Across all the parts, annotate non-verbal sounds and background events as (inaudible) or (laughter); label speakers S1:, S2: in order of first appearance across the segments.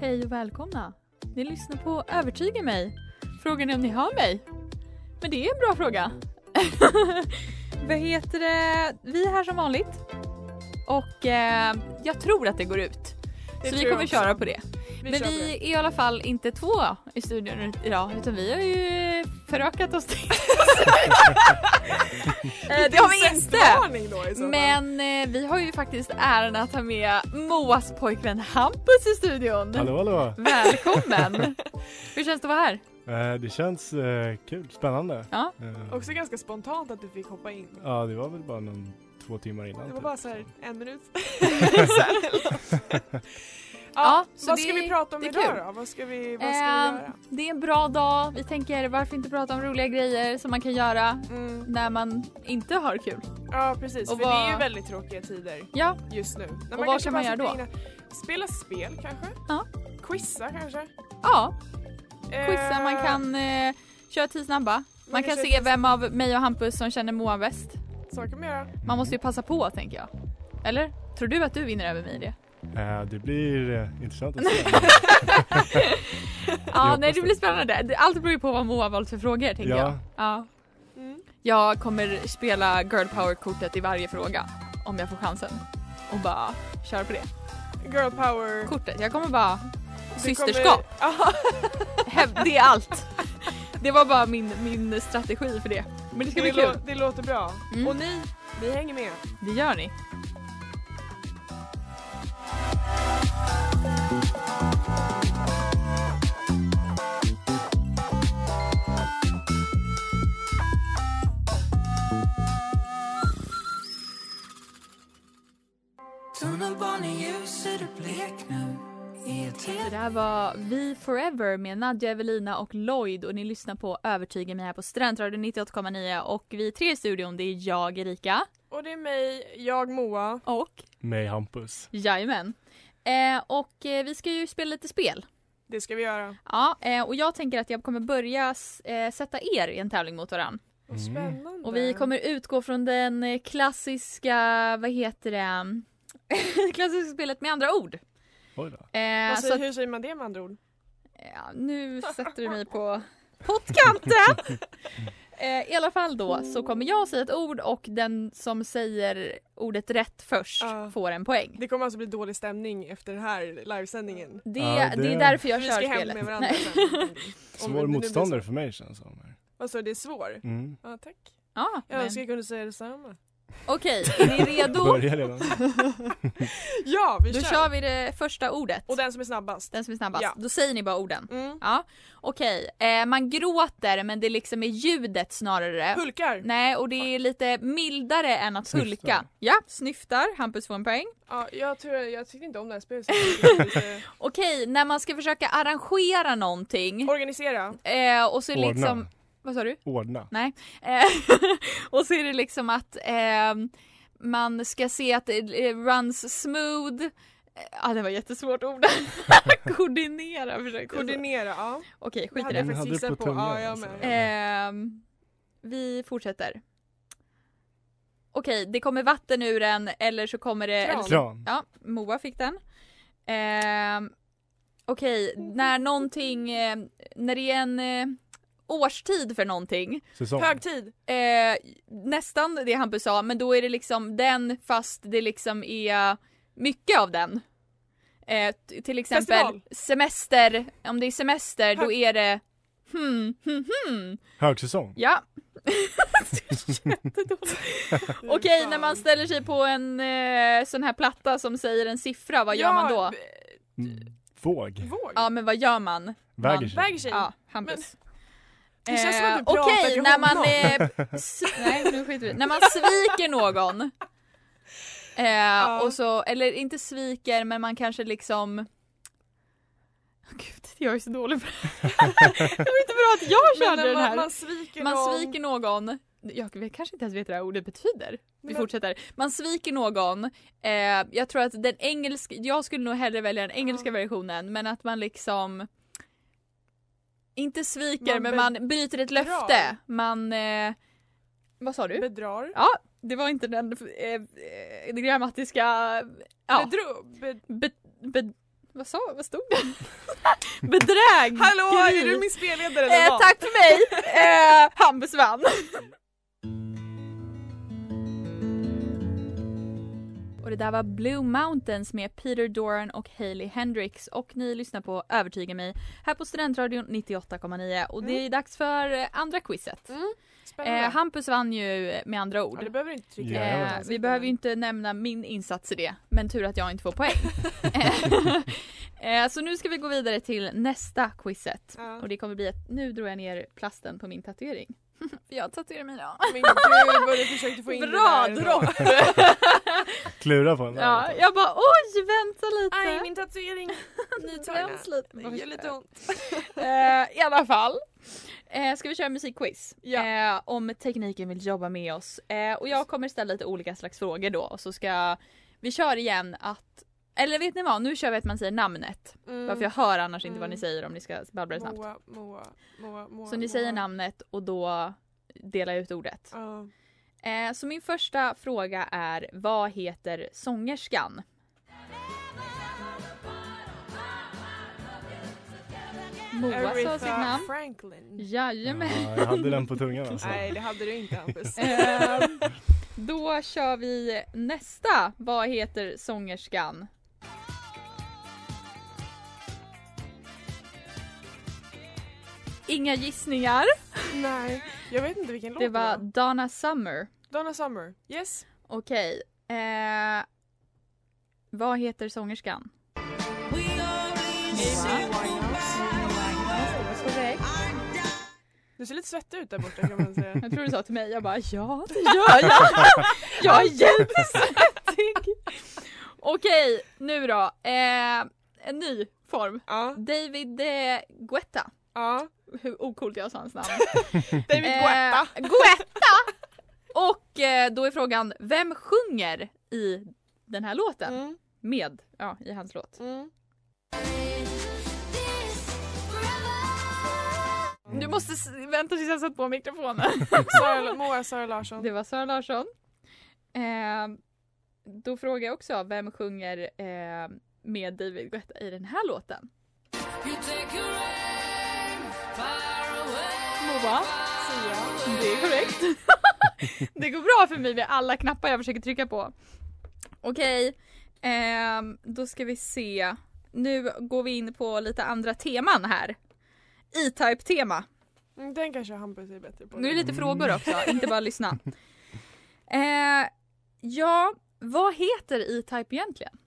S1: Hej och välkomna! Ni lyssnar på Övertyga mig. Frågan är om ni hör mig? Men det är en bra fråga. (laughs) Vad heter det? Vi är här som vanligt. Och eh, jag tror att det går ut.
S2: Det
S1: Så
S2: tror
S1: vi
S2: jag
S1: kommer
S2: också.
S1: köra på det.
S2: Vi
S1: Men
S2: kör på
S1: vi
S2: det.
S1: är i alla fall inte två i studion idag utan vi har ju
S2: (laughs)
S1: förökat oss till. Eh, det har vi inte.
S2: Varning då i så fall.
S1: Men eh, vi har ju faktiskt äran att ha med Moas pojkvän Hampus i studion.
S3: Hallå hallå!
S1: Välkommen! Hur känns det att vara här?
S3: Eh, det känns eh, kul, spännande.
S1: Ja.
S3: Eh,
S2: Också ganska spontant att du fick hoppa in.
S3: ja, det var väl bara någon två timmar innan.
S2: Det var
S3: typ.
S2: bara så här en
S1: (laughs)
S2: minut sen eller något. Ja,
S1: Ja, så
S2: vad
S1: det-
S2: ska vi prata om
S1: det är
S2: idag
S1: kul.
S2: då? Vad ska vi, vad ska vi
S1: Ehm,
S2: göra?
S1: Det är en bra dag. Vi tänker varför inte prata om roliga grejer som man kan göra
S2: Mm.
S1: när man inte har kul.
S2: Ja precis,
S1: och
S2: för det är ju
S1: vad-
S2: väldigt tråkiga tider
S1: Ja,
S2: just nu. När
S1: vad
S2: kanske
S1: kan man
S2: bara
S1: göra
S2: sitter inne- Spela spel kanske?
S1: Ja.
S2: Quizza kanske?
S1: ja quizza.
S2: Eh,
S1: Man kan eh, köra tio snabba. Man kan
S2: kan
S1: se
S2: köra-
S1: vem av mig och Hampus som känner Moa bäst.
S2: Så kan man göra.
S1: Man måste
S3: Mm.
S1: ju passa på tänker jag. Eller? Tror du att du vinner över mig i det?
S3: Eh, det blir eh, intressant att
S1: (laughs)
S3: se.
S1: Ja, nej
S3: hoppas
S1: det
S3: det.
S1: blir spännande. Det- Allt beror ju på vad Moa har valt för frågor tänker jag.
S3: ja,
S1: Ja.
S2: Mm.
S1: Jag kommer spela girl power-kortet i varje fråga om jag får chansen. Och bara köra på det
S2: Girl power.
S1: kortet. Jag kommer bara
S2: Du
S1: systerskap.
S2: kommer- (laughs) Ja,
S1: Häv- Det är allt. (laughs) Det var bara min, min strategi för det. Men det ska bli
S2: det,
S1: kul.
S2: lå- det låter bra.
S1: Mm.
S2: Och ni, ni hänger med.
S1: Det gör ni. Det där var Vi Forever med Nadja, Evelina och Lloyd och ni lyssnar på Övertyga mig här på Studentradion 98,9 och vi är tre i studion. Det är jag, Erika
S2: Och det är mig, jag Moa.
S1: och
S3: mig Hampus.
S1: Jajamän. Eh, och eh, vi ska ju spela lite spel.
S2: Det ska vi göra.
S1: Ja, eh, och jag tänker att jag kommer börja s- eh, sätta er i en tävling mot varandra.
S2: Vad
S3: Mm.
S2: spännande.
S1: Och vi kommer utgå från den eh, klassiska, vad heter det, (laughs) klassiska spelet med andra ord.
S3: Oj då.
S1: Eh,
S2: Vad
S1: så
S2: säger,
S1: att,
S2: hur säger man det med andra ord?
S1: ja, nu sätter du mig på pottkanten!
S2: (laughs)
S1: eh, I alla fall då så kommer jag säga ett ord och den som säger ordet rätt först
S2: Ja.
S1: får en poäng.
S2: Det kommer alltså bli dålig stämning efter den här livesändningen.
S1: Det,
S3: Ja,
S1: det...
S3: det-
S1: är därför jag
S2: Vi ska
S1: kör
S2: hem
S1: spelet.
S2: med
S1: Nej.
S2: varandra
S1: (laughs)
S2: sen. Om det nu blir
S3: Svår motståndare
S2: så.
S3: för mig känns det som. här.
S2: Vad sa du, det är svår?
S3: Mm.
S2: Ja, tack.
S1: Ja,
S2: Jag
S1: men-
S2: önskar jag kunde säga
S3: (laughs)
S2: detsamma. (laughs)
S1: Okej, är ni redo?
S3: Börja redan.
S2: Ja, vi
S1: Då
S2: kör!
S1: kör vi det första ordet.
S2: Och den som är snabbast.
S1: Den som är snabbast.
S2: Ja.
S1: Då säger ni bara orden.
S2: Mm.
S1: Ja, okej. Eh, man gråter men det liksom är ljudet snarare.
S2: Hulkar!
S1: Nej, och det är lite mildare än att
S3: Snyftar.
S1: hulka. Ja, snyftar. Hampus får en poäng.
S2: Ja, jag, tror, jag tyckte inte om det här spelet. så jag
S1: (laughs)
S2: tyckte det
S1: Okej, när man ska försöka arrangera någonting
S2: var- Organisera.
S1: eh, och så är det
S3: Ordna.
S1: liksom... Vad sa du?
S3: Ordna.
S1: Eh, (laughs) och så är det liksom att ehm, man ska se att det eh, runs eh, smooth, Ja, det var jättesvårt ord. (laughs) Koordinera försökte jag säga.
S2: Koordinera, ja.
S1: Okej,
S2: Det
S1: skit i
S2: hade jag
S1: det.
S3: Mm,
S2: faktiskt
S3: hade du på
S2: gissat på.
S3: tungan,
S2: Ja, jag
S3: alltså.
S2: med.
S1: Ehm, vi fortsätter. Okej, det kommer vatten ur den eller så kommer det...
S2: Kran.
S1: Eller,
S3: Kran.
S1: ja, Moa fick den. Ehm, Okej, när någonting... eh, När det är en eh, årstid för någonting.
S3: Säsong.
S2: Högtid.
S1: Eh, nästan det Hampus sa, men då är det liksom den fast det liksom är mycket av den. Eh, t- till exempel
S2: Festival.
S1: semester, om det är semester då
S2: Hö-
S1: är det hmm, hmm, hmm.
S3: Högsäsong.
S1: Ja. Jättedåligt. (laughs) Okej, när man ställer sig på en eh, sån här platta som säger en siffra, vad gör
S2: Ja,
S1: man då?
S2: v-
S3: Mm. Våg.
S2: Våg.
S1: Ja, men vad gör man?
S3: Väger
S1: man-
S3: sig.
S2: Väger sig.
S1: Ja, Hampus.
S2: Det känns som att du pratar
S1: Okej,
S2: till
S1: när man...
S2: honom.
S1: (laughs) Eh, s- nej, nu skiter vi i det. När man sviker någon. Eh, och så, eller inte sviker, men man kanske liksom... Åh, Gud, (laughs) jag är så dålig på det här. (laughs) Det var inte bra att jag
S2: Men
S1: körde
S2: när
S1: den här.
S2: man, man sviker
S1: Man
S2: någon.
S1: sviker någon, jag vet- kanske inte ens vet vad det här ordet betyder. Vi
S2: Men-
S1: fortsätter. Man sviker någon, eh, jag tror att den engelska, jag skulle nog hellre välja den engelska versionen, men att man liksom inte sviker
S2: Man
S1: men
S2: be-
S1: man bryter ett löfte. Man, eh, vad sa du?
S2: Bedrar.
S1: Ja, det var inte den eh, eh, det grammatiska, ja.
S2: Bedro, bed...
S1: Be, be, vad sa, vad stod det? (laughs) Bedräg!
S2: Hallå, är du min spelledare eller
S1: Eh,
S2: vad?
S1: tack för mig! Eh, Hampus vann. Och det där var Blue Mountains med Peter Doran och Hailey Hendrix och ni lyssnar på Övertyga mig här på Studentradion 98,9 och det är dags för eh, andra quizet.
S2: Mm. Spännande.
S1: Eh, Hampus vann ju eh, med andra
S2: ja, det
S1: ord.
S2: behöver du inte trycka
S3: Ja,
S2: in.
S3: jag
S1: Eh,
S3: vet.
S1: vi behöver ju inte nämna min insats i det, men tur att jag inte får (laughs) poäng. eh, så nu ska vi gå vidare till nästa quizet.
S2: Ja.
S1: Och det kommer bli att nu drog jag ner plasten på
S2: (laughs)
S1: min tatuering. För jag tatuerar mig idag.
S2: Men gud vad du försökte få in
S1: Bra
S2: det där.
S1: dropp!
S3: Klura på den där.
S1: ja, jag bara oj vänta
S2: Aj,
S1: lite.
S2: min tatuering.
S1: Det
S2: Nytagna.
S1: bränns lite.
S2: Det gör lite ont.
S1: Eh, I alla fall. Eh, ska vi köra musikquiz?
S2: Ja.
S1: Eh, om tekniken vill jobba med oss. Eh, och jag kommer ställa lite olika slags frågor då och så ska vi kör igen att eller vet ni vad, nu kör vi att man säger namnet.
S2: Mm.
S1: Bara för jag hör annars inte vad
S2: Mm.
S1: ni säger om ni ska babbla snabbt.
S2: Moa, Moa, Moa, Moa.
S1: Så ni
S2: Moa.
S1: säger namnet och då delar jag ut ordet.
S2: Ja.
S1: Eh, så min första fråga är, vad heter sångerskan? Moa sa
S2: Aretha
S1: sitt namn.
S2: Franklin.
S3: (laughs)
S1: Jajamän.
S3: Ja, jag hade den på tungan alltså.
S2: Nej det hade du inte Hampus.
S1: (laughs) Ehm, då kör vi nästa. Vad heter sångerskan? Inga gissningar.
S2: Nej, jag vet inte vilken låt
S1: Det var Donna Summer.
S2: Donna Summer. Yes.
S1: Okej. Eh, vad heter sångerskan?
S2: Amy Winehouse.
S1: Korrekt.
S2: Du ser lite svettig ut där borta kan man
S1: (laughs)
S2: säga.
S1: Jag tror du sa till mig, jag bara ja det gör jag. (laughs) Jag är jättesvettig. Okej, nu då. Eh, en ny form.
S2: Ja,
S1: David eh, Guetta.
S2: ja.
S1: Hur ocoolt jag sa hans namn.
S2: David Guetta.
S1: (laughs) Eh, Guetta! Och eh, då är frågan, vem sjunger i den här låten?
S2: Mm,
S1: Med, ja i hans låt.
S2: mm.
S1: Du måste s- vänta tills jag satt
S2: (laughs)
S1: på mikrofonen.
S2: Sara, Moa Sara Larsson.
S1: Det var Sara Larsson. Eh, då frågar jag också, vem sjunger eh, med David Guetta i den här låten? Moa,
S2: Sia.
S1: det är korrekt. (laughs) det går bra för mig med alla knappar jag försöker trycka på. Okej, ehm, då ska vi se. Nu går vi in på lite andra teman här. E-Type tema.
S2: Mm, Den kanske Hampus är bättre på.
S1: Nu är det lite frågor också, inte bara (laughs) lyssna. Eh, ja, vad heter E-Type egentligen?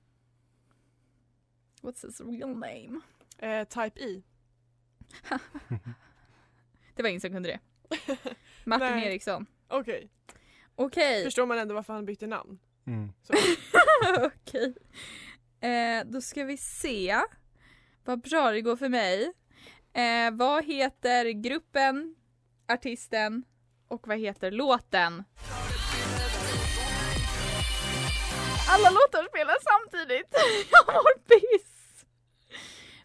S1: What's his real name?
S2: Eh, type I.
S1: Det var ingen som kunde (laughs) det. Martin
S2: Nej.
S1: Eriksson.
S2: Okej,
S1: Okej.
S2: förstår man ändå varför han bytte namn.
S3: Mm.
S1: (laughs) Okej. Eh, då ska vi se. Vad bra det går för mig. Eh, vad heter gruppen, artisten och vad heter låten? Alla låtar spelar samtidigt. (laughs) Jag mår piss.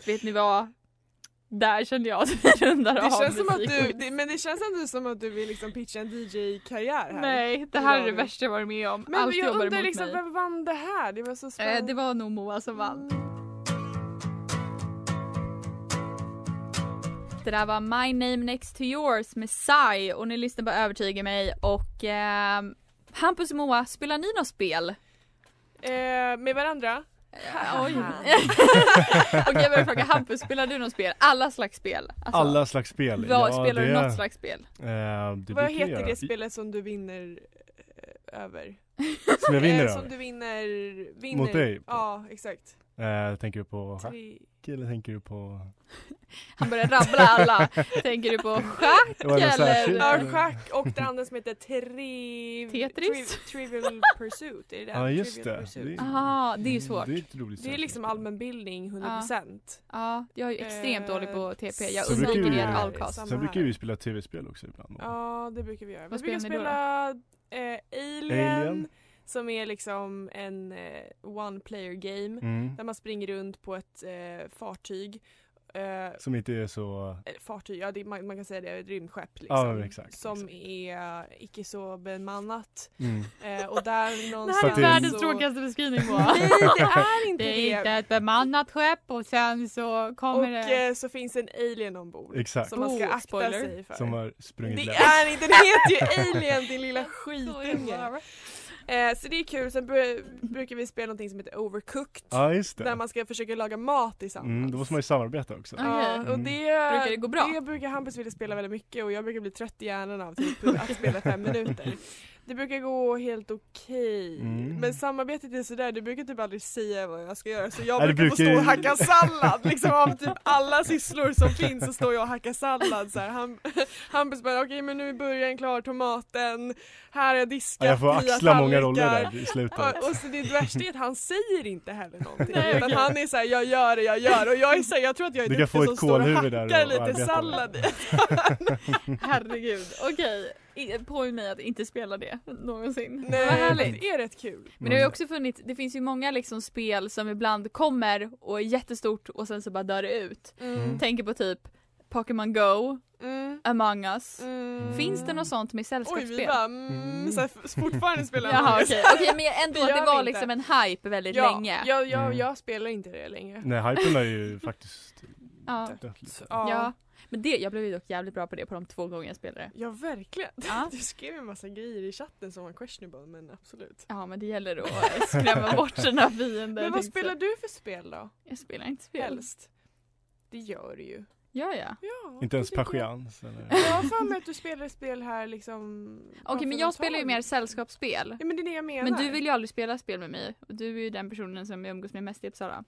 S1: Vet ni vad? Där kände jag att vi rundar
S2: Det
S1: av
S2: känns som att du,
S1: musikquiz.
S2: det, men det känns ändå som att du vill liksom pitcha en DJ-karriär här.
S1: Nej, det här är det värsta jag varit med om.
S2: Men
S1: Allt
S2: jag
S1: jobbar
S2: undrar
S1: emot
S2: liksom,
S1: mig.
S2: vem vann det här? Det var så
S1: Eh,
S2: spännande.
S1: det var nog Moa som vann. Det där var My name next to yours med Sai och ni lyssnar på Övertyga mig och ehm, Hampus och Moa, spelar ni något spel?
S2: Eh, med varandra?
S1: Eh, Oj. (laughs) Okej jag börjar fråga Hampus, spelar du något spel? Alla slags spel? Alltså,
S3: Alla slags spel.
S1: Vad, spelar du något slags spel?
S3: Eh, det
S2: Vad
S3: brukar jag
S2: heter
S3: göra.
S2: det spelet som du vinner eh, över?
S3: Som jag vinner
S2: eh, Som
S3: över?
S2: du vinner, vinner.
S3: Mot dig?
S2: Ja, exakt.
S3: Eh, tänker du på schack
S2: Tre...
S3: eller tänker du på?
S1: Han börjar rabbla alla. Tänker du (laughs) på schack
S3: Var det något särskilt?
S1: eller?
S2: Ja, schack och det andra som heter tri...
S1: Tetris?
S2: Tri...
S1: (laughs)
S2: Trivial Pursuit, är det det?
S3: Ja, just
S2: Trivial
S3: det.
S2: Pursuit.
S3: Det är-
S1: Jaha, det är ju svårt.
S3: Det är inte roligt
S2: Det är liksom allmänbildning 100%.
S1: Ja, jag är ju extremt
S2: Eh,
S1: dålig på TP. Jag
S3: så brukar
S1: undviker
S3: vi-
S1: det all kost.
S2: samma
S3: Sen brukar vi
S2: här.
S3: spela tv-spel också ibland.
S2: Ja, det brukar vi göra.
S1: Vad
S2: vi brukar
S1: spelar
S2: spela eh, Alien,
S3: Alien.
S2: som är liksom en eh, one player game
S3: Mm.
S2: där man springer runt på ett eh, fartyg. Eh, eller
S3: Som inte är så,
S2: eh, fartyg, ja det, man, man kan säga det, ett rymdskepp
S3: Ja,
S2: liksom.
S3: men exakt,
S2: som
S3: exakt.
S2: är icke så bemannat.
S3: mm.
S2: Eh, och där
S1: (laughs) Det här
S2: någonstans
S1: är
S3: För att det-
S1: världens
S2: så-
S1: tråkigaste beskrivning (laughs)
S2: (laughs)
S1: Moa.
S2: Nej det är inte
S1: Det
S2: det.
S1: är inte ett bemannat skepp och sen så
S2: och
S1: kommer det...
S2: eh, så finns en alien ombord.
S3: exakt.
S2: Som man ska
S1: Oh,
S2: akta
S1: spoiler.
S2: sig för.
S3: Som har sprungit
S2: Det
S3: lätt.
S2: är inte, den heter ju Alien din
S1: (laughs)
S2: lilla skitunge.
S1: Skitunge.
S2: Eh, så det är kul, sen bru- brukar vi spela någonting som heter Overcooked.
S3: Ja, just
S2: Där
S3: det.
S2: man ska försöka laga mat tillsammans.
S3: Mm, då måste man ju samarbeta också.
S1: Ja.
S2: Ja,
S1: Okej.
S3: Mm.
S2: och det,
S1: Brukar det gå bra?
S2: Det brukar Hampus vilja spela väldigt mycket och jag brukar bli trött i hjärnan av typ
S1: (laughs)
S2: att spela fem minuter. Det brukar gå helt okej.
S3: Mm.
S2: Men samarbetet är sådär, du brukar typ aldrig säga vad jag ska göra så jag
S3: Nej, det
S2: brukar, få
S3: brukar
S2: stå och
S3: ju-
S2: hacka sallad. Liksom av
S3: (laughs)
S2: typ alla sysslor som finns så står jag och hackar sallad. Så här. Ham- (laughs) Hampus bara, okej men nu är burgaren klar, tomaten, här har jag diskat,
S3: Ja, jag får
S2: nya
S3: axla
S2: tallrikar.
S3: många roller där i slutet.
S2: Och, och så det värsta är att han säger inte heller någonting.
S1: Nej,
S2: utan
S1: okej.
S2: han är såhär, jag gör det, jag gör det. Och jag är såhär, jag tror att jag är
S3: Du kan få
S2: duktig som
S3: ett
S2: står och
S3: kålhuvud där
S2: hackar
S3: och arbeta
S2: lite
S3: med.
S2: sallad i.
S1: Herregud, okej. I- Påminn mig att inte spela det någonsin.
S2: (laughs) Nej,
S1: Vad härligt.
S2: det är rätt kul.
S1: Men
S3: Mm.
S1: det har ju också funnits, det finns ju många liksom spel som ibland kommer och är jättestort och sen så bara dör det ut.
S2: Mm.
S1: Tänker på typ Pokémon Go,
S2: Mm.
S1: Among Us.
S2: Mm.
S1: Finns det något sånt med
S2: Oj, vi
S1: sällskapsspel?
S2: bara mm, så här, f- fortfarande spelar
S1: Jaha
S2: Among Us.
S1: okej, Okej,
S2: (laughs)
S1: men ändå
S2: Det
S1: att
S2: gör
S1: det
S2: vi
S1: var
S2: inte.
S1: liksom en hype väldigt
S2: Ja,
S1: länge.
S2: Jag, jag,
S3: Mm.
S2: jag spelar inte det längre.
S3: Nej, hypen
S2: (laughs)
S3: har ju faktiskt
S1: Ja.
S3: dött lite.
S2: Ja.
S1: Ja, men det, jag blev ju dock jävligt bra på det på de två gånger jag spelade.
S2: Ja, verkligen.
S1: Ja,
S2: (laughs) Du skrev en massa grejer i chatten som var questionable, men absolut.
S1: ja men det gäller att eh, skrämma bort sina
S2: (laughs)
S1: fiender.
S2: Men vad
S1: tänkte
S2: spelar
S1: jag.
S2: du för spel då?
S1: Jag spelar inte spel.
S2: Helst. Det gör du ju.
S1: Ja, ja.
S2: Ja,
S3: Inte ens
S2: det tycker jag.
S3: patiens eller?
S2: Jag har för mig att du spelar spel här liksom
S1: Okej, men jag spelar ju mer sällskapsspel.
S2: Ja men det är det jag menar.
S1: Men du vill ju aldrig spela spel med mig. Och Du är ju den personen som jag umgås med mest i Uppsala.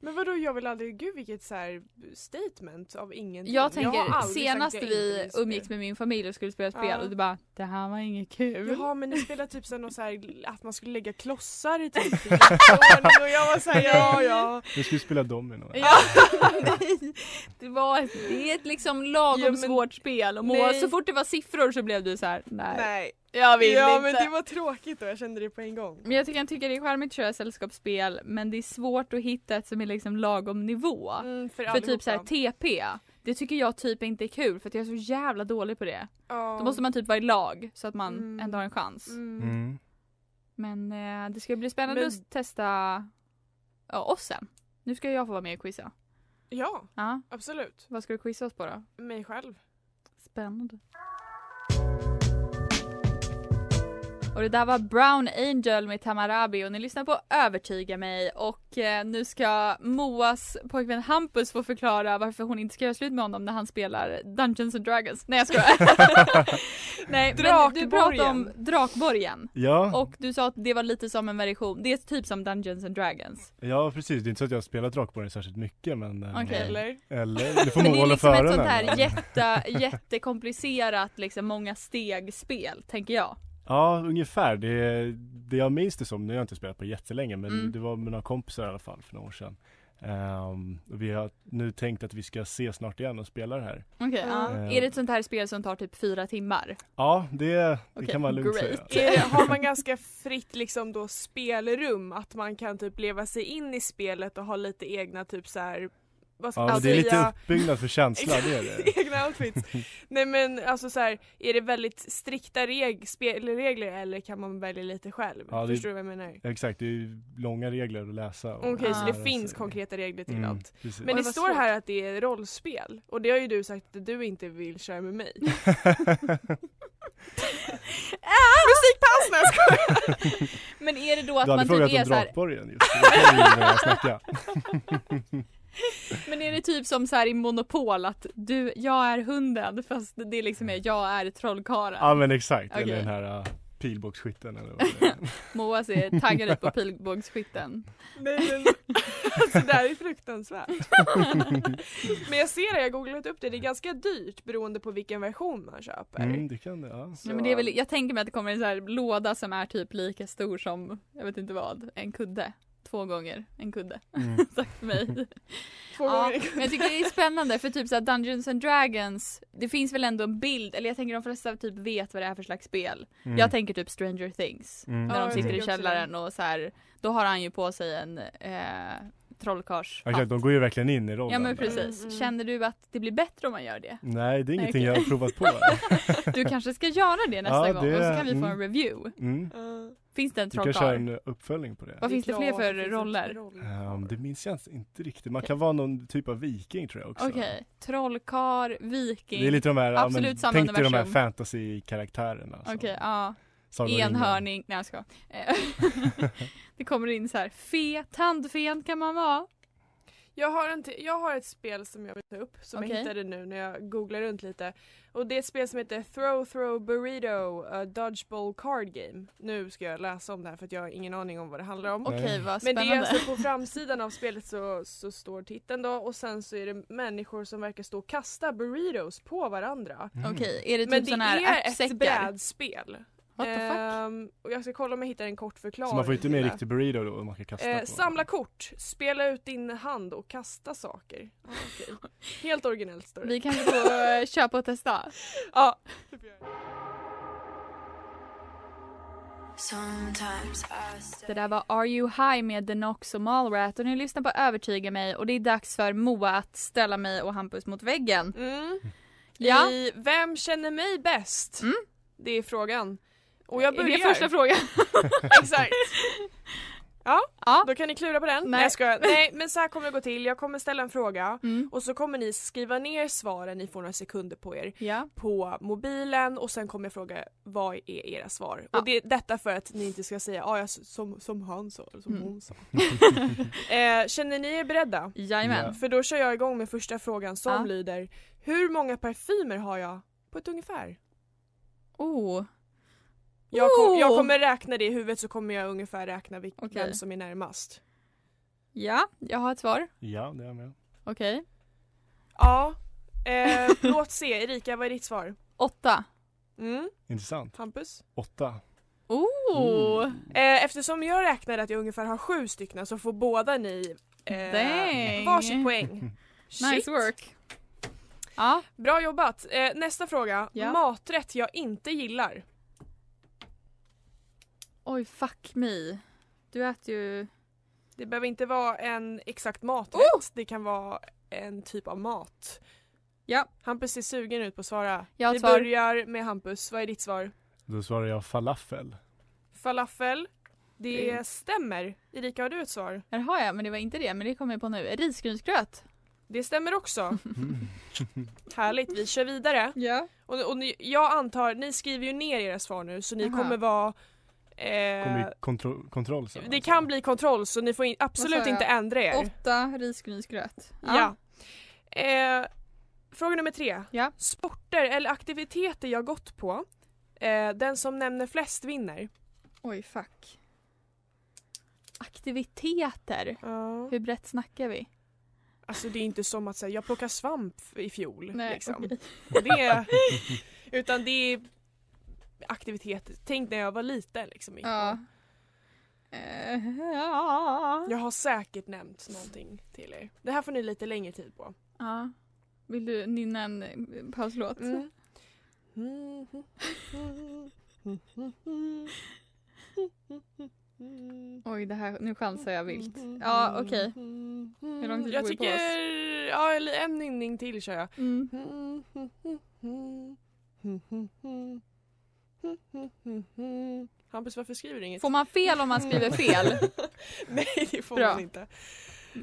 S2: Men vadå jag vill aldrig, gud vilket så här statement av ingenting.
S1: Jag tänker,
S2: har aldrig sagt
S1: senast
S2: att jag inte
S1: vi
S2: vill spela.
S1: umgicks med min familj och skulle spela spel
S2: Ja.
S1: och du bara Det här var inget kul.
S2: Jaha men ni spelar typ så här någon så här, att man skulle lägga klossar i typ (laughs) i ordning och jag var såhär ja ja.
S3: Vi skulle spela domino.
S1: Ja, (laughs) nej. Det, var ett, det är ett liksom lagom
S2: Ja, men-
S1: svårt spel och Moa,
S2: Nej.
S1: så fort det var siffror så blev du så här: nej,
S2: Nej.
S1: jag vill
S2: Ja
S1: inte. Mm.
S2: men det var tråkigt då, jag kände det på en gång.
S1: Men jag tycker, jag tycker det är charmigt att köra sällskapsspel men det är svårt att hitta ett som är liksom lagom nivå.
S2: Mm, för
S1: för typ
S2: allihopa.
S1: så här TP, det tycker jag typ inte är kul för att jag är så jävla dålig på det.
S2: Ja.
S1: Då måste man typ vara i lag så att man
S2: Mm.
S1: ändå har en chans.
S2: Mm.
S3: Mm.
S1: Men eh, det ska bli spännande
S2: Men-
S1: att testa ja, oss sen. Nu ska jag få vara med och quizza.
S2: Ja,
S1: Ja,
S2: absolut.
S1: vad ska du quizza oss på då?
S2: Mig själv.
S1: Spännande. Och det där var Brown Angel med Tamarabi och ni lyssnar på Övertyga mig och eh, nu ska Moas pojkvän Hampus få förklara varför hon inte ska göra slut med honom när han spelar Dungeons and Dragons. Nej jag skojar. (laughs) Nej men du pratade om Drakborgen
S3: Ja,
S1: och du sa att det var lite som en version, det är typ som Dungeons and Dragons.
S3: ja, precis. Det är inte så att jag har spelat Drakborgen särskilt mycket men... eh,
S1: Okej.
S2: Eller? (laughs)
S3: Eller? Du får
S1: Men
S3: nog
S1: det är
S3: hålla
S1: liksom
S3: för
S1: ett
S3: öronen.
S1: sånt här jätte, jättekomplicerat liksom många steg-spel tänker jag.
S3: Ja, ungefär. Det, det jag minns det som, nu har jag inte spelat på jättelänge men
S1: Mm.
S3: det var med några kompisar i alla fall för några år sedan. Eh, Ehm, och vi har nu tänkt att vi ska ses snart igen och spela det här.
S1: Okej, ja.
S3: Mm.
S1: Är det ett sånt här spel som tar typ fyra timmar?
S3: Ja, det, det
S1: Okej,
S3: kan man lugnt
S1: great. (laughs)
S3: säga.
S2: Är, har man ganska fritt liksom då spelrum att man kan typ leva sig in i spelet och ha lite egna typ så här vad ska
S3: Ja,
S2: man
S1: Alltså,
S3: men det är lite
S2: säga?
S3: uppbyggnad för känsla, det är
S1: (laughs)
S3: det.
S2: (laughs) egna outfits. Nej men alltså så här, är det väldigt strikta reg- spelregler eller kan man välja lite själv?
S3: Ja, det-
S2: Förstår du vad jag menar?
S3: Exakt, det är ju långa regler att läsa. och
S2: Okej så
S1: Ja.
S2: det
S3: lära
S2: finns
S3: sig.
S2: konkreta regler till
S3: Mm,
S2: allt.
S3: precis.
S2: Men
S1: Oj,
S2: det
S1: vad
S2: står
S1: svårt.
S2: här att det är rollspel och det har ju du sagt att du inte vill köra med mig.
S1: (laughs)
S2: Musikpaus! Nej jag skojar!
S1: Men är det då att
S3: du hade
S1: man typ
S3: frågat
S1: är
S3: om
S1: så här,
S3: Drakborgen just. Det kan
S1: (laughs)
S3: vi börja snacka.
S1: men är det typ som så här i Monopol att du, jag är hunden fast det liksom är jag är trollkarlen.
S3: Ja men exakt,
S1: Okej.
S3: eller den här uh, pilbågsskytten eller vad
S1: (laughs)
S3: det är.
S1: Moa ser taggad
S3: (laughs)
S1: ut på pilbågsskytten.
S2: Nej, men, (laughs) alltså det här är (laughs) fruktansvärt. men jag ser det, jag har googlat upp det, det är ganska dyrt beroende på vilken version man köper.
S3: Mm, det kan det, ja.
S1: Nej, men det är väl, jag tänker mig att det kommer en så här låda som är typ lika stor som, jag vet inte vad, en kudde. Två gånger en kudde.
S3: Mm.
S1: Sagt för
S3: (laughs)
S1: mig.
S2: Två
S1: Ja,
S2: gånger.
S1: men jag tycker det är spännande för typ så här Dungeons and Dragons, det finns väl ändå en bild, eller jag tänker de flesta typ vet vad det är för slags spel.
S3: Mm.
S1: Jag tänker typ Stranger Things.
S3: Mm.
S1: När
S2: Ja,
S1: de
S2: jag
S1: sitter i
S2: tänker också det.
S1: källaren och så här, då har han ju på sig en eh, trollkarls
S3: Ja, exakt, de går ju verkligen in i rollen.
S1: Ja men
S3: där.
S1: precis.
S2: Mm, mm.
S1: Känner du att det blir bättre om man gör det?
S3: Nej, det är ingenting
S1: okej.
S3: jag har
S1: (laughs)
S3: provat på.
S1: Du kanske ska göra det nästa
S3: Ja,
S1: gång och så
S3: det-
S1: kan vi få en
S3: mm.
S1: review.
S3: Mm.
S2: (laughs) Ja.
S1: Finns det en
S3: Du kan köra
S1: trollkarl?
S3: en uppföljning på det.
S1: Vad finns det fler
S2: klart,
S1: för
S2: finns
S1: roller?
S2: inte roller.
S3: Ehm, det minns jag inte riktigt. Man kan vara någon typ av viking tror jag också.
S1: Okej, trollkar, viking.
S3: Det är lite de här, ja, men,
S1: Absolut samma
S3: tänk dig de här
S1: universum.
S3: fantasy-karaktärerna. som
S1: Okej, ja.
S3: Sagan om ringen.
S1: Enhörning. Nej jag
S3: (laughs)
S1: skojar. Eh, (laughs) det kommer in så här, fe, tandfen kan man vara.
S2: Jag har, en till- jag har ett spel som jag vill ta upp som
S1: Okej.
S2: jag hittade nu när jag googlar runt lite. Och det är ett spel som heter Throw Throw Burrito a Dodgeball Card Game. Nu ska jag läsa om det här för att jag har ingen aning om vad det handlar om.
S3: Nej.
S1: Okej, vad
S2: Men det
S1: spännande.
S2: är alltså på framsidan av spelet så, så står titeln då och sen så är det människor som verkar stå och kasta burritos på varandra.
S3: Mm.
S1: Okej, är det typ
S2: Men det
S1: såna här
S2: är ett
S1: ärtsäckar?
S2: brädspel.
S1: What the fuck?
S2: Ehm, och jag ska kolla om jag hittar en kort förklaring.
S3: Så man får ju inte med
S2: till
S3: en
S2: det.
S3: riktig burrito då om man kan kasta
S2: Eh,
S3: på.
S2: samla kort, spela ut din hand och kasta saker. Ah,
S1: (laughs)
S2: okej. Helt originellt står det.
S1: Vi kanske får eh, köpa och testa.
S2: Ja.
S4: Sometimes I stay.
S1: Det där var Are You High med The Nox och Malrat och ni lyssnar på Övertyga mig och det är dags för Moa att ställa mig och Hampus mot väggen.
S2: Mm.
S1: (laughs) Ja. Mm.
S2: I Vem känner mig bäst? Det är frågan. Och jag
S1: Är
S2: börjar.
S1: det första frågan?
S2: (laughs)
S1: (laughs)
S2: Exakt. Ja,
S1: Ja.
S2: då kan ni klura på den.
S1: Nej.
S2: Nej, jag skojar. Nej men så här kommer det gå till. Jag kommer ställa en fråga
S1: Mm.
S2: och så kommer ni skriva ner svaren, ni får några sekunder på er.
S1: Ja.
S2: på mobilen och sen kommer jag fråga vad är era svar?
S1: Ja.
S2: Och det, detta för att ni inte ska säga ah, jag, som, som han sa eller som
S1: Mm.
S2: hon sa. eh, känner ni er beredda?
S1: Jajamän.
S2: För då kör jag igång med första frågan som
S1: Ja.
S2: lyder Hur många parfymer har jag på ett ungefär?
S1: Oh.
S2: Jag, kom, jag
S1: Oh!
S2: kommer räkna det i huvudet så kommer jag ungefär räkna vil-
S1: Okej.
S2: vem som är närmast.
S1: Ja, jag har ett svar.
S3: (laughs) Ja, det är jag med.
S1: Okej.
S2: Ja, eh, låt se. Erika vad är ditt svar?
S1: Åtta.
S2: Mm,
S3: Intressant.
S2: Hampus?
S3: Åtta.
S1: Oh.
S2: Eh, eftersom jag räknade att jag ungefär har sju stycken så får båda ni
S1: Dang.
S2: eh, varsitt poäng. Shit.
S1: Nice work. Ja.
S2: Bra jobbat! Eh, nästa fråga.
S1: Ja.
S2: Maträtt jag inte gillar.
S1: Oj, fuck me. Du äter ju...
S2: Det behöver inte vara en exakt maträtt,
S1: Oh!
S2: det kan vara en typ av mat.
S1: Ja.
S2: Hampus ser sugen ut på att svara.
S1: Jag har
S2: Vi
S1: ett svar.
S2: börjar med Hampus, vad är ditt svar?
S3: Då svarar jag
S1: (laughs)
S3: falafel.
S2: Falafel. Det stämmer. Erika har du ett svar?
S1: Här har jag, men det var inte det. Men det kommer jag på nu. Risgrynsgröt.
S2: Det stämmer
S1: (laughs)
S2: också. Härligt, vi kör vidare.
S1: Ja.
S2: Och, och ni, jag antar, ni skriver ju ner era svar nu så ni
S1: Aha.
S2: kommer vara
S3: Kommer
S2: eh,
S3: i kontro- kontroll sen.
S2: Det
S3: alltså.
S2: kan bli kontroll så ni får in, absolut
S1: jag?
S2: inte ändra er.
S1: Åtta risgrynsgröt.
S2: Ja. Eh, fråga nummer tre.
S1: Ja.
S2: Sporter eller aktiviteter jag gått på. Eh, den som nämner flest vinner.
S1: Oj, fuck. Aktiviteter.
S2: Ja.
S1: Hur brett snackar vi?
S2: Alltså det är inte som att säga jag plockade svamp i fjol. liksom.
S1: okej.
S2: Och det är, utan det är aktiviteter. Tänk när jag var liten liksom.
S1: Ja. Eh, ja.
S2: Jag har säkert nämnt någonting till er. Det här får ni lite längre tid på.
S1: ja. Vill du nynna en eh, pauslåt?
S2: Mm.
S1: Mm. Oj, det här, nu chansar jag vilt. Ja, okej. Hur lång tid
S2: Jag
S1: får vi på oss?
S2: tycker, ja eller en nynning till kör jag.
S1: Mm.
S2: Hampus varför skriver du inget?
S1: Får man fel om man skriver fel?
S2: (laughs) Nej det får
S1: Bra.
S2: man inte.
S1: (laughs)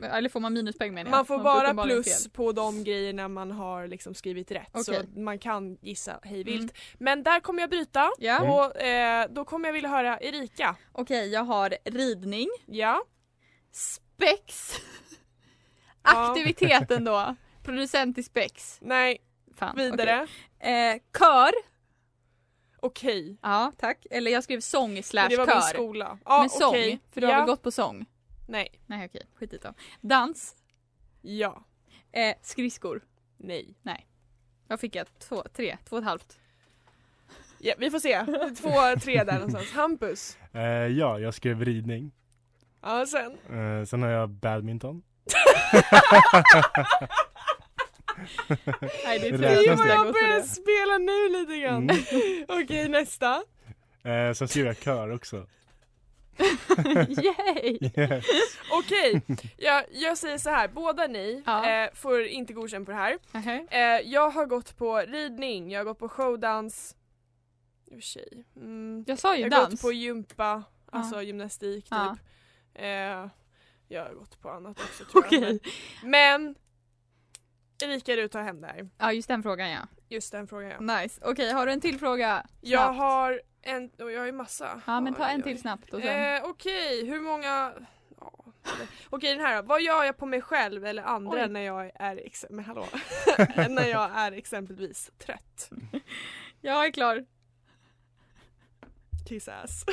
S1: Eller får man minuspoäng menar jag?
S2: Man får bara
S1: uppenbarligen
S2: plus
S1: fel.
S2: på de grejerna man har liksom skrivit rätt
S1: Okej.
S2: så man kan gissa hej vilt.
S1: Mm.
S2: Men där kommer jag bryta
S1: Ja,
S2: och eh, då kommer jag vilja höra Erika.
S1: okej jag har ridning,
S2: Ja,
S1: spex,
S2: Ja.
S1: aktiviteten då, producent i spex.
S2: nej,
S1: Fan,
S2: vidare.
S1: okej. Eh, kör,
S2: Okej.
S1: ja tack. Eller jag skrev sång slash
S2: Men Det var min
S1: kör.
S2: skola. Ja,
S1: Men sång,
S2: okej.
S1: för du
S2: ja.
S1: har väl gått på sång?
S2: Nej.
S1: Nej okej, skit i det då. Dans,
S2: Ja.
S1: eh, skridskor.
S2: Nej.
S1: Jag fick jag två, tre, två och ett halvt.
S2: Ja, vi får se. Två, tre där någonstans. Hampus.
S3: Eh, ja, jag skrev ridning.
S2: Ja, sen.
S3: Eh, sen har jag badminton.
S1: Nej det är för lite
S3: Det räknas det.
S1: jag
S2: Jag
S1: går för
S2: börjar
S1: det.
S2: spela nu lite grann.
S3: Mm.
S2: (laughs) Okej, nästa.
S3: Eh, sen skrev jag kör
S1: (laughs)
S3: också. (laughs)
S1: Yay!
S3: Yes. (laughs)
S2: Okej, jag, jag säger så här. Båda ni
S1: Ja.
S2: eh, får inte godkänt på det här.
S1: Nähä.
S2: Eh, jag har gått på ridning, jag har gått på showdans. I och för sig. Mm.
S1: Jag sa ju
S2: Jag har gått
S1: dans.
S2: på gympa,
S1: Ja.
S2: alltså gymnastik typ.
S1: Ja.
S2: Eh, jag har gått på annat också tror jag.
S1: Okej.
S2: Men Erika du tar hem det här.
S1: Ja just den frågan ja.
S2: Just den frågan ja.
S1: Nice. Okej har du en till fråga?
S2: Jag
S1: Mm, Snabbt.
S2: har en, och jag har ju massa.
S1: Ja men ta
S2: Oj,
S1: en
S2: oj.
S1: till snabbt och sen.
S2: Eh, Okej, hur många... ja, eller- Okej den här då. Vad gör jag på mig själv eller andra
S1: Oj.
S2: när jag är, ex- men
S1: (laughs)
S2: hallå. när jag är exempelvis trött?
S1: Jag
S2: (laughs)
S1: är klar.
S2: Kiss ass.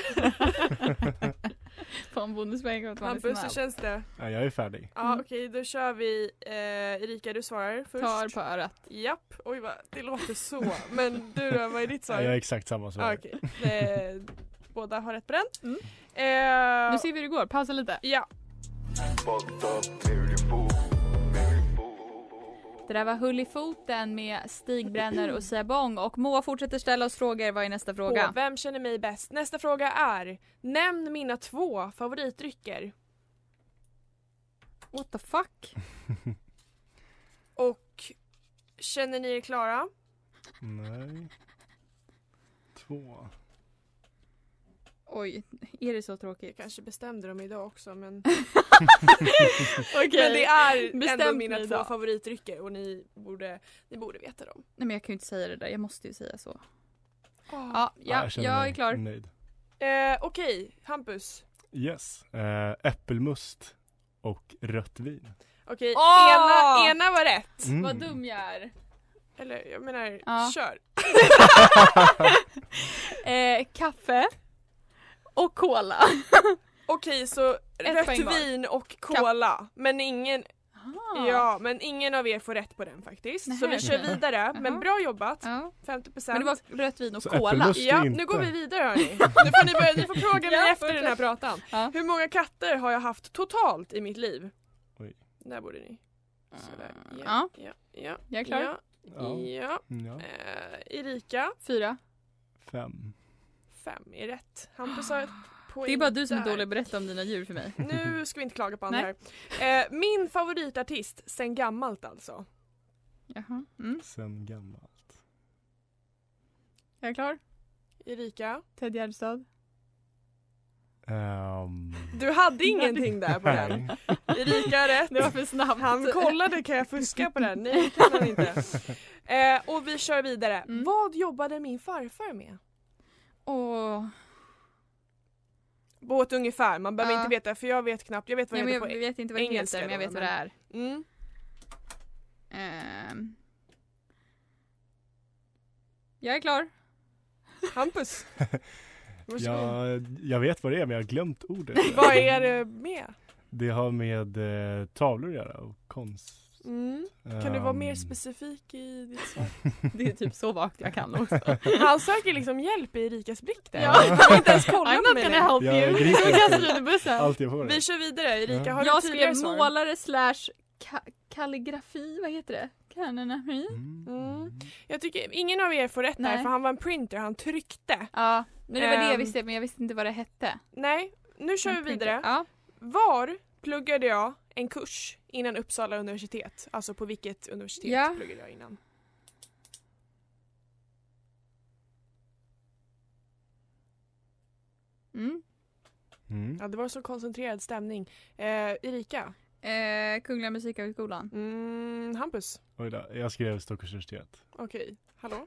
S1: På en bonuspoäng för att man är
S2: Hampus, hur
S1: snabb.
S2: känns det?
S3: Ja, jag är färdig.
S2: Ja
S1: Mm.
S2: okej, då kör vi. Eh, Erika du svarar först.
S1: Tar på örat.
S2: Japp, oj vad, det låter så. Men du då, vad är ditt
S3: Ja,
S2: svar?
S3: jag är exakt samma svar.
S2: Ah, Okej, Det- båda har rätt på den.
S1: Mm.
S2: Eh,
S1: Nu ser vi hur det går, pausa lite.
S2: Ja,
S1: Det där var Hull i foten med Stig Brenner och Sia Bong och Moa fortsätter ställa oss frågor. Vad är nästa
S2: på
S1: fråga?
S2: Vem känner mig bäst? Nästa fråga är Nämn mina två favoritdrycker.
S1: What the
S3: (laughs)
S1: fuck?
S2: Och känner ni er klara?
S3: Nej. Två.
S1: Oj, är det så
S2: Jag
S1: tråkigt?
S2: kanske bestämde dem idag också (laughs) men,
S1: Okej.
S2: men det är ändå
S1: Bestämt
S2: mina
S1: ni
S2: två
S1: idag.
S2: favoritdrycker och ni borde, ni borde veta dem.
S1: Nej men jag kan ju inte säga det där, jag måste ju säga så.
S2: Ah.
S1: Ja,
S3: Ja,
S1: ja jag,
S3: känner mig Mm.
S1: är klar.
S3: Nöjd.
S2: Eh, Okej, Hampus.
S3: Yes. Eh, äppelmust och rött vin.
S2: Okej,
S1: Åh!
S2: ena, ena var rätt.
S3: Mm.
S1: Vad dum jag är.
S2: Eller jag menar,
S1: Ja.
S2: kör.
S1: Eh, kaffe och cola.
S2: Okej så
S1: poäng
S2: rött
S1: var. Ah.
S2: vin och cola. Men ingen, Ja, men ingen av er får rätt på den faktiskt. så
S1: Nähä,
S2: vi kör
S1: okej.
S2: vidare, men
S1: Jaha.
S2: bra jobbat.
S1: Ja.
S2: 50
S1: Men det var rött vin och
S3: Så
S1: cola.
S3: äppelmust
S2: Ja,
S3: är inte.
S2: nu går vi vidare hörni. Nu får ni, börja, ni får
S1: (laughs)
S2: fråga mig
S1: Ja,
S2: efter den här pratan.
S1: Ja.
S2: Hur många katter har jag haft totalt i mitt liv?
S3: Oj.
S2: Där borde ni. Sådär.
S1: Mm. Ja,
S2: ja, ja,
S1: jag är klar.
S2: ja,
S3: Ja. Mm,
S2: ja.
S3: Ja.
S2: Eh, Erika,
S1: Fyra.
S3: Fem.
S2: fem är rätt. Hampus
S1: (gasps)
S2: har ett poäng
S1: Det är bara du som är
S2: där.
S1: dålig att berätta om dina djur för mig.
S2: Nu ska vi inte
S1: (laughs)
S2: klaga på andra här. Eh, min favoritartist sen gammalt alltså.
S1: Jaha. Mm.
S3: Sen gammalt.
S1: Jag är klar.
S2: Erika,
S1: Ted Gärdestad.
S3: Ehm,
S2: du hade ingenting där på den.
S3: (laughs) nej.
S2: Erika har rätt.
S1: Det var för snabbt.
S2: Han kollade, kan jag fuska på den? Nej det kan han
S1: (laughs)
S2: inte. Eh, och vi kör vidare.
S1: Mm.
S2: Vad jobbade min farfar med?
S1: Åh.
S2: På ett ungefär, man behöver
S1: Ja.
S2: inte veta för jag vet knappt, jag vet vad
S1: Nej,
S2: det
S1: men
S2: heter
S1: jag
S2: på
S1: vet inte vad det
S2: engelska
S1: heter men jag
S2: då,
S1: vet vad det är.
S2: mm.
S1: Ehm. Jag
S2: (laughs)
S1: är klar. (laughs)
S2: Hampus? Vad ska vi-
S3: Jag, jag vet vad det är men jag har glömt
S2: (laughs)
S3: ordet.
S2: Vad är det med?
S3: Det har med eh, tavlor att göra och konst.
S2: Mm. Kan du vara mer
S3: Ehm,
S2: specifik i ditt svar?
S1: Det är typ så vagt jag kan (laughs) också.
S2: Han söker liksom hjälp i Erikas blick där.
S1: Ja.
S2: Jag har inte ens
S1: (laughs) I'm
S2: kollat
S1: not
S2: med
S1: gonna
S2: det.
S1: help
S3: Jag
S1: you.
S3: är
S1: Du
S3: gripen.
S1: kastar ut i bussen.
S3: Allt jag får.
S2: Vi kör vidare Erika, har du
S1: Jag
S2: tidigare
S1: skrev
S2: svar?
S1: målare slash ka- kalligrafi, vad heter det? Kanonami?
S2: Mm. Jag tycker ingen av er får rätt där
S1: Nej.
S2: för han var en printer, han tryckte.
S1: Ja, men det var det jag
S2: Ehm.
S1: visste men jag visste inte vad det hette.
S2: Nej, nu kör vi
S1: Men printer.
S2: vidare.
S1: Ja.
S2: Var pluggade jag en kurs innan Uppsala universitet? Alltså på vilket universitet
S1: Ja.
S2: pluggade jag innan?
S1: Mm.
S3: Mm.
S2: Ja, det var så koncentrerad stämning. Eh, Erika?
S1: Eh, Kungliga Musikhögskolan.
S2: Mm, Hampus?
S3: Oj då, jag skrev Stockholms universitet.
S2: Okej, hallå?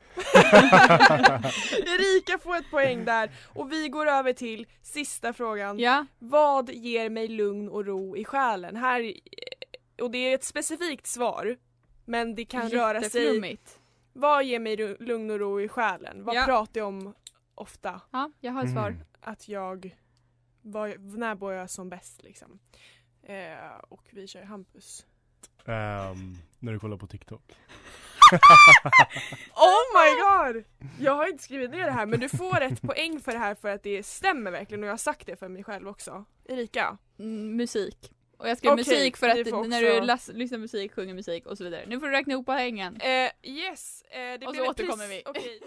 S2: Erika får ett poäng där och vi går över till sista frågan.
S1: Ja.
S2: Vad ger mig lugn och ro i själen? Här, eh, och det är ett specifikt svar, men det kan röra sig.
S1: Jätteflummigt.
S2: Vad ger mig ru- lugn och ro i själen? Vad
S1: Ja.
S2: pratar jag om ofta?
S1: Ja, jag har ett svar.
S3: Mm.
S2: Att jag, vad, när mår jag som bäst liksom? Eh, och vi kör Hampus.
S3: Ehm, när du kollar på TikTok.
S2: Oh my god! Jag har inte skrivit ner det här men du får ett (laughs) poäng för det här för att det stämmer verkligen och jag har sagt det för mig själv också. Erika?
S1: Mm, musik. Och jag skrev
S2: Okej,
S1: musik för
S2: vi
S1: att
S2: får också-
S1: när du las- lyssnar på musik, sjunger musik och så vidare. Nu får du räkna ihop poängen.
S2: Eh, yes, eh, det
S1: Och
S2: blev
S1: så
S2: ett pris.
S1: återkommer vi. (laughs)
S2: Okej.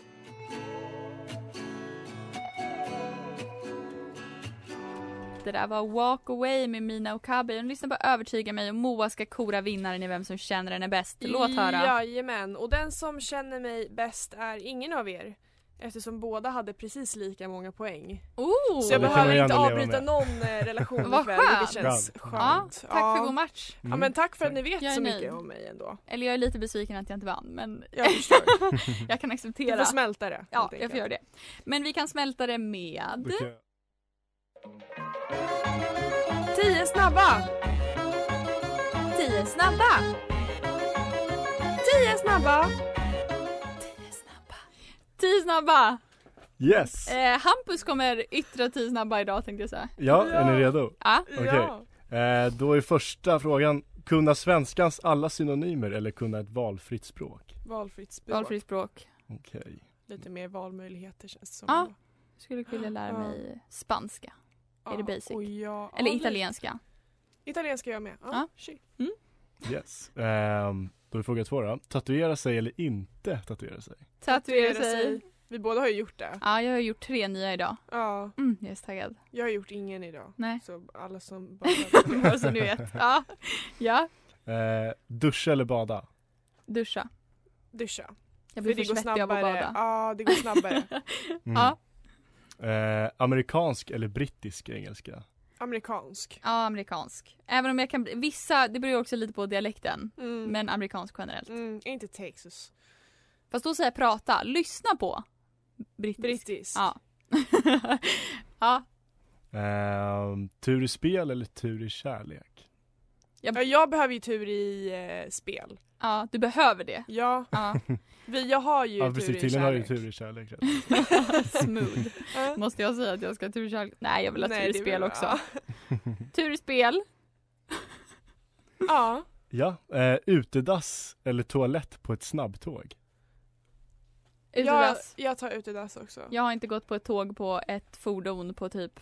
S1: Det där var Walk Away med Mina Okabe. Och lyssna på Övertyga mig och Moa ska kora vinnaren i Vem som känner henne bäst. Låt höra.
S2: Jajamän, och den som känner mig bäst är ingen av er. Eftersom båda hade precis lika många poäng.
S1: Oh!
S2: Så jag
S3: Det kan
S2: behöver
S3: man ju
S2: inte
S3: ändå leva
S2: avbryta
S3: med.
S2: någon
S3: (laughs)
S2: eh, relation
S1: Vad
S2: ikväll, vilket
S1: skönt.
S2: känns
S3: Bra.
S1: Ja,
S2: skönt.
S1: tack för god match.
S2: Ja
S3: Mm.
S2: men tack för att ni
S1: Jag
S2: vet
S1: är
S2: så
S1: nöjd.
S2: mycket om mig ändå.
S1: Eller jag är lite besviken att jag inte vann
S2: (laughs)
S1: men
S2: Jag förstår.
S1: (laughs) jag kan
S2: Du
S1: acceptera.
S2: får smälta det.
S1: ja,
S2: helt
S1: jag får
S2: enkelt.
S1: göra det. Men vi kan smälta det med...
S3: Då kan jag-
S2: Tio snabba!
S1: 10 snabba!
S2: Tio snabba!
S1: 10 snabba! 10 snabba!
S3: Yes!
S1: Eh, Hampus kommer yttra 10 snabba idag tänkte jag säga.
S3: Ja, är ni redo?
S1: Ja.
S3: Okej.
S2: Ja.
S3: Eh, då är första frågan, kunna svenskans alla synonymer eller kunna ett valfritt språk?
S2: Valfritt språk.
S1: Valfritt språk.
S3: Okej.
S2: Lite mer valmöjligheter känns det som.
S1: Ja.
S2: ändå.
S1: Skulle vilja lära
S2: Ja.
S1: mig spanska. Är det basic?
S2: och ja,
S1: Eller
S2: ja,
S1: italienska.
S2: lite. Italienska gör jag med. Ja,
S1: Ja.
S2: shit.
S3: Yes. Ehm, då är fråga två då. Tatuera sig eller inte tatuera sig?
S1: Tatuera sig.
S2: Vi båda har ju gjort det.
S1: Ja, jag har gjort tre nya idag.
S2: Ja,
S1: Mm, jag är så taggad.
S2: jag har gjort ingen idag.
S1: Nej.
S2: Så alla som bara (laughs) behöver det.
S1: (laughs) Bara så ni vet. Ja. ja.
S3: Eh, duscha eller bada?
S1: Duscha.
S2: Duscha.
S1: Jag blir för svettig av att bada.
S2: Ja, det går
S1: (laughs)
S2: snabbare.
S1: Ja.
S3: Mm. Eh, amerikansk eller brittisk engelska?
S2: Amerikansk.
S1: Ja, amerikansk. Även om jag kan bli, vissa, det beror ju också lite på dialekten.
S2: Mm.
S1: Men amerikansk generellt.
S2: Mm, inte Texas.
S1: Fast då säger jag prata, lyssna på. Brittisk.
S2: Brittisk.
S1: Ja. (laughs) ja,
S3: Ehm, tur i spel eller tur i kärlek?
S2: Ja, jag behöver ju tur i eh, spel.
S1: ja, du behöver det.
S2: Ja,
S1: Ja,
S2: vi, jag har ju
S3: Ja
S2: tur
S3: precis,
S2: i
S3: tydligen har du
S2: kärlek.
S3: tur i kärlek
S1: (laughs)
S3: rätt.
S1: smooth.
S2: Ja.
S1: Måste jag säga att jag ska ha tur i kärlek? Nej, jag vill ha
S2: Nej,
S1: tur i
S2: det
S1: spel
S2: vill-
S1: också. (laughs) Tur i spel.
S2: Ja.
S3: Ja, eh, utedass eller toalett på ett snabbtåg?
S2: Jag,
S1: Utedass.
S2: jag tar utedass också.
S1: Jag har inte gått på ett tåg på ett fordon på typ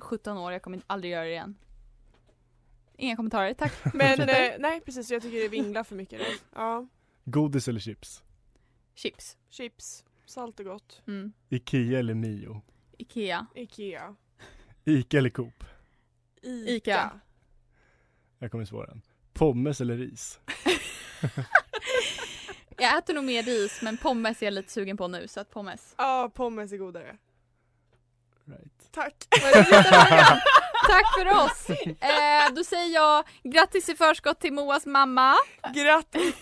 S1: 17 år. Jag kommer aldrig göra det igen. Inga kommentarer, (laughs) tack.
S2: Men
S1: Fortsätter.
S2: eh, nej precis, jag tycker det vinglar för mycket där. Ja.
S3: Godis eller chips?
S1: Chips.
S2: Chips, salt och gott.
S1: Mm.
S3: Ikea eller Mio?
S1: Ikea. (laughs)
S2: Ikea.
S3: Ica eller Coop?
S2: Ica.
S1: Ica.
S3: Jag kommer svara den. Pommes eller ris?
S1: Jag äter nog mer ris men pommes är jag lite sugen på nu så att pommes.
S2: Ja, pommes är godare.
S3: Right.
S1: (laughs)
S2: Tack.
S1: Tack för oss! Eh, då säger jag grattis i förskott till Moas mamma.
S2: Grattis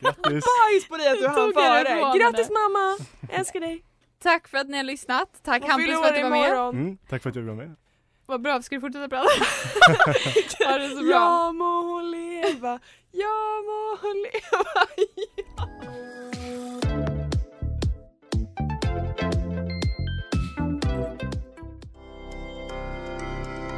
S3: Grattis!
S2: på dig att du hann
S1: Tog jag det
S2: före.
S1: ifrån
S2: Grattis mamma! Älskar dig.
S1: Tack för att ni har lyssnat. Tack
S2: Hon
S1: Hampus
S2: fyller
S1: för att
S2: år
S1: du var med.
S2: imorgon.
S3: Mm, tack för att du var med.
S1: Vad bra, ska du
S2: (laughs)
S1: fortsätta prata? ha det så bra.
S2: Ja må hon leva, ja må hon leva. (laughs)